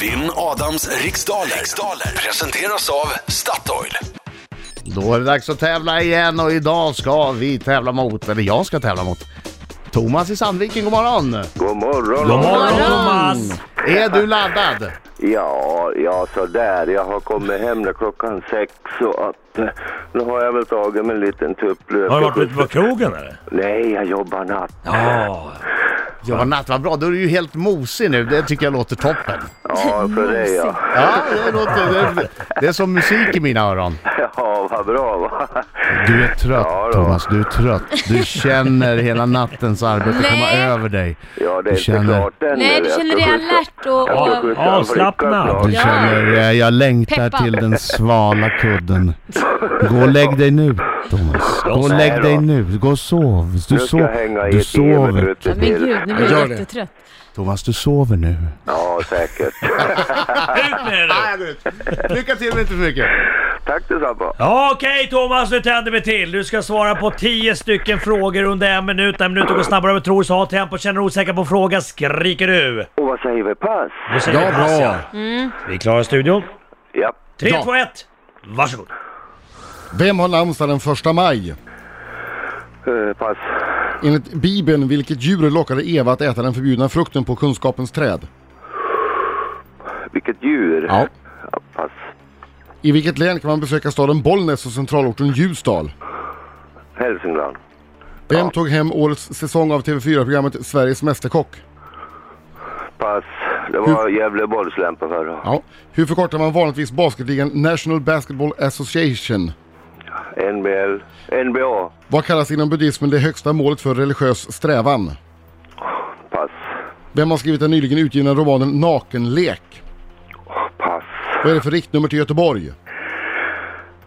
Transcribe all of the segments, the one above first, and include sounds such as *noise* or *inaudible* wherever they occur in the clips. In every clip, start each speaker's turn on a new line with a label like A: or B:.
A: Vinn Adams riksdaler. riksdaler presenteras av Statoil.
B: Då är det dags att tävla igen och idag ska vi tävla mot, eller jag ska tävla mot, Thomas i Sandviken. God morgon!
C: God morgon.
D: God morgon
E: morgon.
D: Thomas!
B: Är du laddad?
C: Ja, ja sådär. Jag har kommit hem där klockan sex så att eh, nu har jag väl tagit mig en liten tupplöp.
D: Har du varit ute på krogen eller?
C: Nej, jag jobbar natt.
D: Ja.
B: Ja, natt, vad bra. Då är du ju helt mosig nu. Det tycker jag låter toppen.
C: Ja, för dig ja.
B: Ja, det, låter, det, det är som musik i mina öron.
C: *laughs* Ja, vad bra va?
B: Du är trött
C: Ja då.
B: Thomas, du är trött. Du känner hela nattens arbete komma
E: Nej.
B: över dig.
C: Ja,
B: Du
C: det är
B: känner-
C: inte klart än.
E: Nej,
C: Jag
E: du
C: ska
E: känner dig
C: skjutsa-
E: alert och...
C: Jag ska
E: och
C: skjutsa en
D: avslappnad.
C: flicka
B: Du
C: snart.
E: Ja.
B: känner, eh, jag längtar
E: Peppad.
B: till den svala kudden. Gå och lägg dig nu Thomas. Gå och
C: Nej
B: lägg
C: då.
B: dig nu. Gå och sov. Du,
C: Nu ska jag
B: sov.
C: hänga i
B: du
C: tio
B: sover.
C: minuter
E: men gud,
C: till.
E: nu blir
D: Gör
E: jag
D: det.
E: jättetrött.
B: Thomas, du sover nu.
C: Ja, säkert. *laughs*
D: Ut med det!
B: Lycka till men inte för mycket.
C: Tack detsamma.
D: Ja, Okej Thomas, nu tänder vi till. Du ska svara på 10 stycken frågor under en minut. En minut går snabbare än du tror, så ha tempo. Känner du osäker på en fråga skriker du.
C: Och vad säger vi? Pass?
D: Nu säger
B: Ja,
D: vi pass,
B: bra.
D: ja. Vi klarar studion.
C: Ja.
D: 3,
B: Ja.
D: 2, 1. Varsågod.
F: Vem har namnsdag den första maj?
C: Eh, Pass.
F: Enligt Bibeln, vilket djur lockade Eva att äta den förbjudna frukten på kunskapens träd?
C: Vilket djur?
F: Ja.
C: Ja, Pass.
F: I vilket län kan man besöka staden Bollnäs och centralorten Ljusdal?
C: Hälsingland.
F: Vem tog hem årets säsong av TV4-programmet Sveriges Mästerkock?
C: Pass. Det var Gävleborgs lämpa förra.
F: Ja. Hur förkortar man vanligtvis basketligan National Basketball Association?
C: NBL. NBA.
F: Vad kallas inom buddhismen det högsta målet för religiös strävan?
C: Pass.
F: Vem har skrivit den nyligen utgivna romanen Nakenlek?
C: Pass.
F: Vad är det för riktnummer till Göteborg?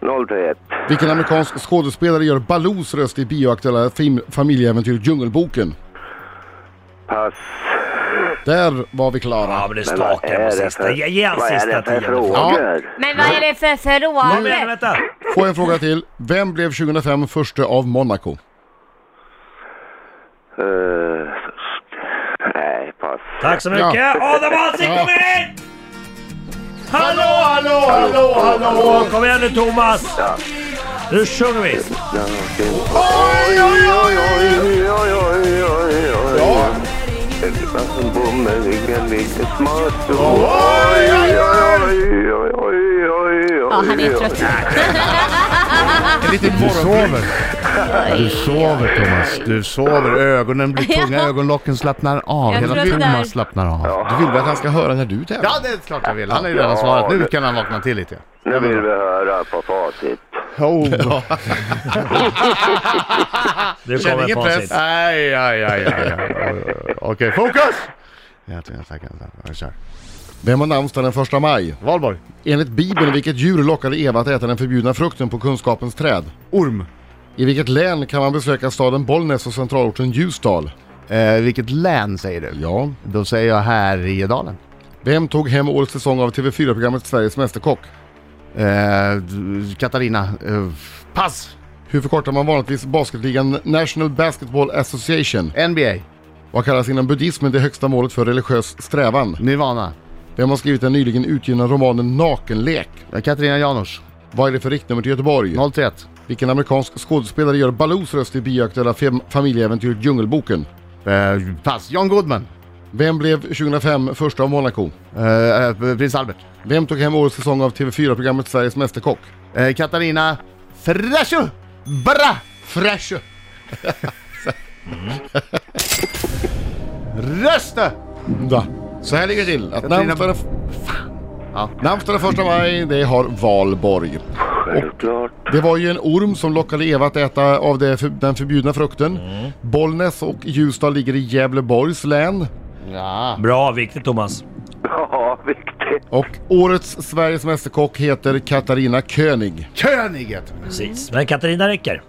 C: 0-1.
F: Vilken amerikansk skådespelare gör Baloos röst i bioaktuella film- familjeäventyret Djungelboken?
C: Pass.
F: Där var vi
D: Ja,
F: klara.
D: men
C: Men
D: det
C: vad
D: stakar
C: är
D: på
C: det
D: sista.
C: för,
D: Ge, ge han
C: vad är
D: sista
C: det för
D: tiden.
C: frågor?
E: Men vad är det för
D: Kom igen,
E: frågor?
D: vänta.
F: Får jag en fråga till. Vem blev 2005 första av Monaco?
C: Eh, nej, pass.
D: Tack så mycket. Adam Alsing, kom in! Hallå, hallå,
C: hallå, hallå.
D: Kom igen nu Thomas. Nu sjunger vi.
C: Ja, okej. Oj, oj, oj, oj, oj, oj, oj, oj. En bommel, ingen liten smuts. Oj, oj, oj, oj, oj, oj,
E: *laughs* Ja, han är
C: oj, oj.
E: trött.
B: En liten du sover. Du sover Thomas. Du sover. Ögonen *laughs* blir tunga. Ögonlocken slappnar av.
E: *laughs* Jag
B: Hela
E: tröttnar.
B: Thomas slappnar av.
F: Du vill väl att han ska höra när du tävlar?
B: Ja, det är klart jag vill. Han har ju redan
C: Ja,
B: svarat. Nu
C: det-
B: kan han vakna till lite.
C: Nu vill vi höra på facit.
F: Oh.
D: Nu
B: Känn
D: kommer
B: ingen press.
D: facit.
B: Aj, aj, aj, aj, aj, aj. aj. Okej, fokus! Jag tror jag tackar. Jag kör.
F: Vem har namnsdag den första maj?
B: Valborg.
F: Enligt Bibeln, vilket djur lockade Eva att äta den förbjudna frukten på kunskapens träd?
B: Orm.
F: I vilket län kan man besöka staden Bollnäs och centralorten Ljusdal?
B: Eh, vilket län säger du?
F: Ja.
B: Då säger jag Härjedalen.
F: Vem tog hem årets säsong av TV4-programmet Sveriges Mästerkock?
B: Eh, d- Katarina. Eh, pass!
F: Hur förkortar man vanligtvis basketligan National Basketball Association?
B: NBA.
F: Vad kallas inom buddhismen det högsta målet för religiös strävan?
B: Nirvana.
F: Vem har skrivit den nyligen utgivna romanen Nakenlek?
B: Eh, Katarina Janouch.
F: Vad är det för riktnummer till Göteborg?
B: 031.
F: Vilken amerikansk skådespelare gör Baloos röst i bioaktuella fem- familjeäventyret Djungelboken?
B: Eh, pass. John Goodman.
F: Vem blev 2005 första av Monaco?
B: Eh, eh, Prins Albert.
F: Vem tog hem årets säsong av TV4-programmet Sveriges Mästerkock?
B: Eh, Katarina Fresho Bra! *laughs*
F: Fresh!
B: Rösta!
F: Da. Så här ligger det till. Att
B: Katarina-
F: namnsdagen
B: Ja.
F: namnsdagen första maj, det har Valborg.
C: Självklart.
F: Det var ju en orm som lockade Eva att äta av det för, den förbjudna frukten. Bollnäs och Ljusdal ligger i Gävleborgs län.
B: Ja.
D: Bra, viktigt Thomas.
C: Ja, viktigt.
F: Och årets Sveriges Mästerkock heter Katarina König.
B: König heter hon.
D: Precis. Men Katarina räcker.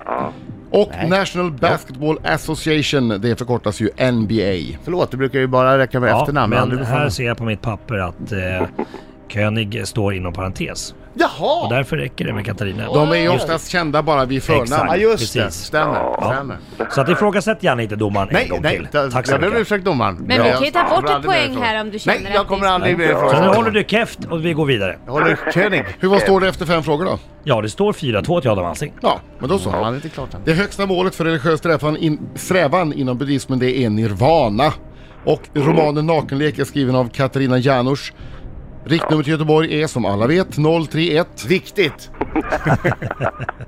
F: Och National Basketball Association, det förkortas ju NBA.
B: Förlåt, det brukar ju bara räcka med efternamn.
D: men
B: aldrig med
D: här
B: förnamn.
D: ser jag på mitt papper att eh, König står inom parentes. Och
B: Jaha!
D: därför räcker det med Katarina.
F: De är ju oftast kända bara vid
D: Exakt.
B: Ja
F: förnamn.
B: just det,
D: Precis.
B: stämmer. stämmer.
D: Så att ifrågasätt gärna inte domaren en
B: Nej,
D: gång
B: nej,
D: till.
B: ta-
D: Tack så
B: jag ber om
D: mycket.
B: ursäkt domaren.
E: Men vi kan ju ta
B: Jag
E: bort
B: kommer
E: ett
B: aldrig
E: poäng
B: bli
E: här om du känner
B: Nej,
E: att
B: jag
E: det
B: kommer
E: är-
B: aldrig bli
D: Så nu
B: ifrågasatt.
D: håller du käft och vi går vidare.
B: Jag håller König.
F: Hur vad står det efter fem frågor då?
D: Ja, det står 4-2 till Adam Alsing.
F: Ja, men då så.
B: Han är inte klart än.
F: Det högsta målet för religiös strävan, in, strävan inom buddhismen det är nirvana. Och romanen Nakenlek är skriven av Katarina Janouch. Riktnummer till Göteborg är som alla vet 031.
B: Viktigt.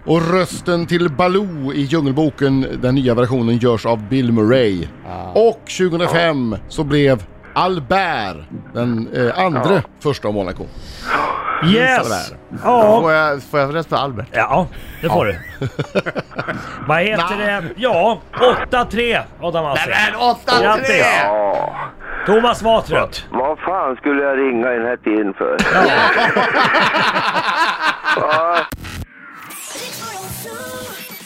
F: Och rösten till Baloo i Djungelboken, den nya versionen, görs av Bill Murray. Och 2005 så blev Albert den eh, andra första av Monaco.
B: Mm,
D: Yes!
B: Får
D: Ja,
B: jag, får jag rösta på Albert?
D: ja det får du.
B: *laughs*
D: Vad heter det? Ja, 8-3 Adam Alsing. Grattis!
C: Ja,
D: Thomas Watröt.
C: vad fan skulle jag ringa i den här tiden för? Ja.
G: Riks-FM.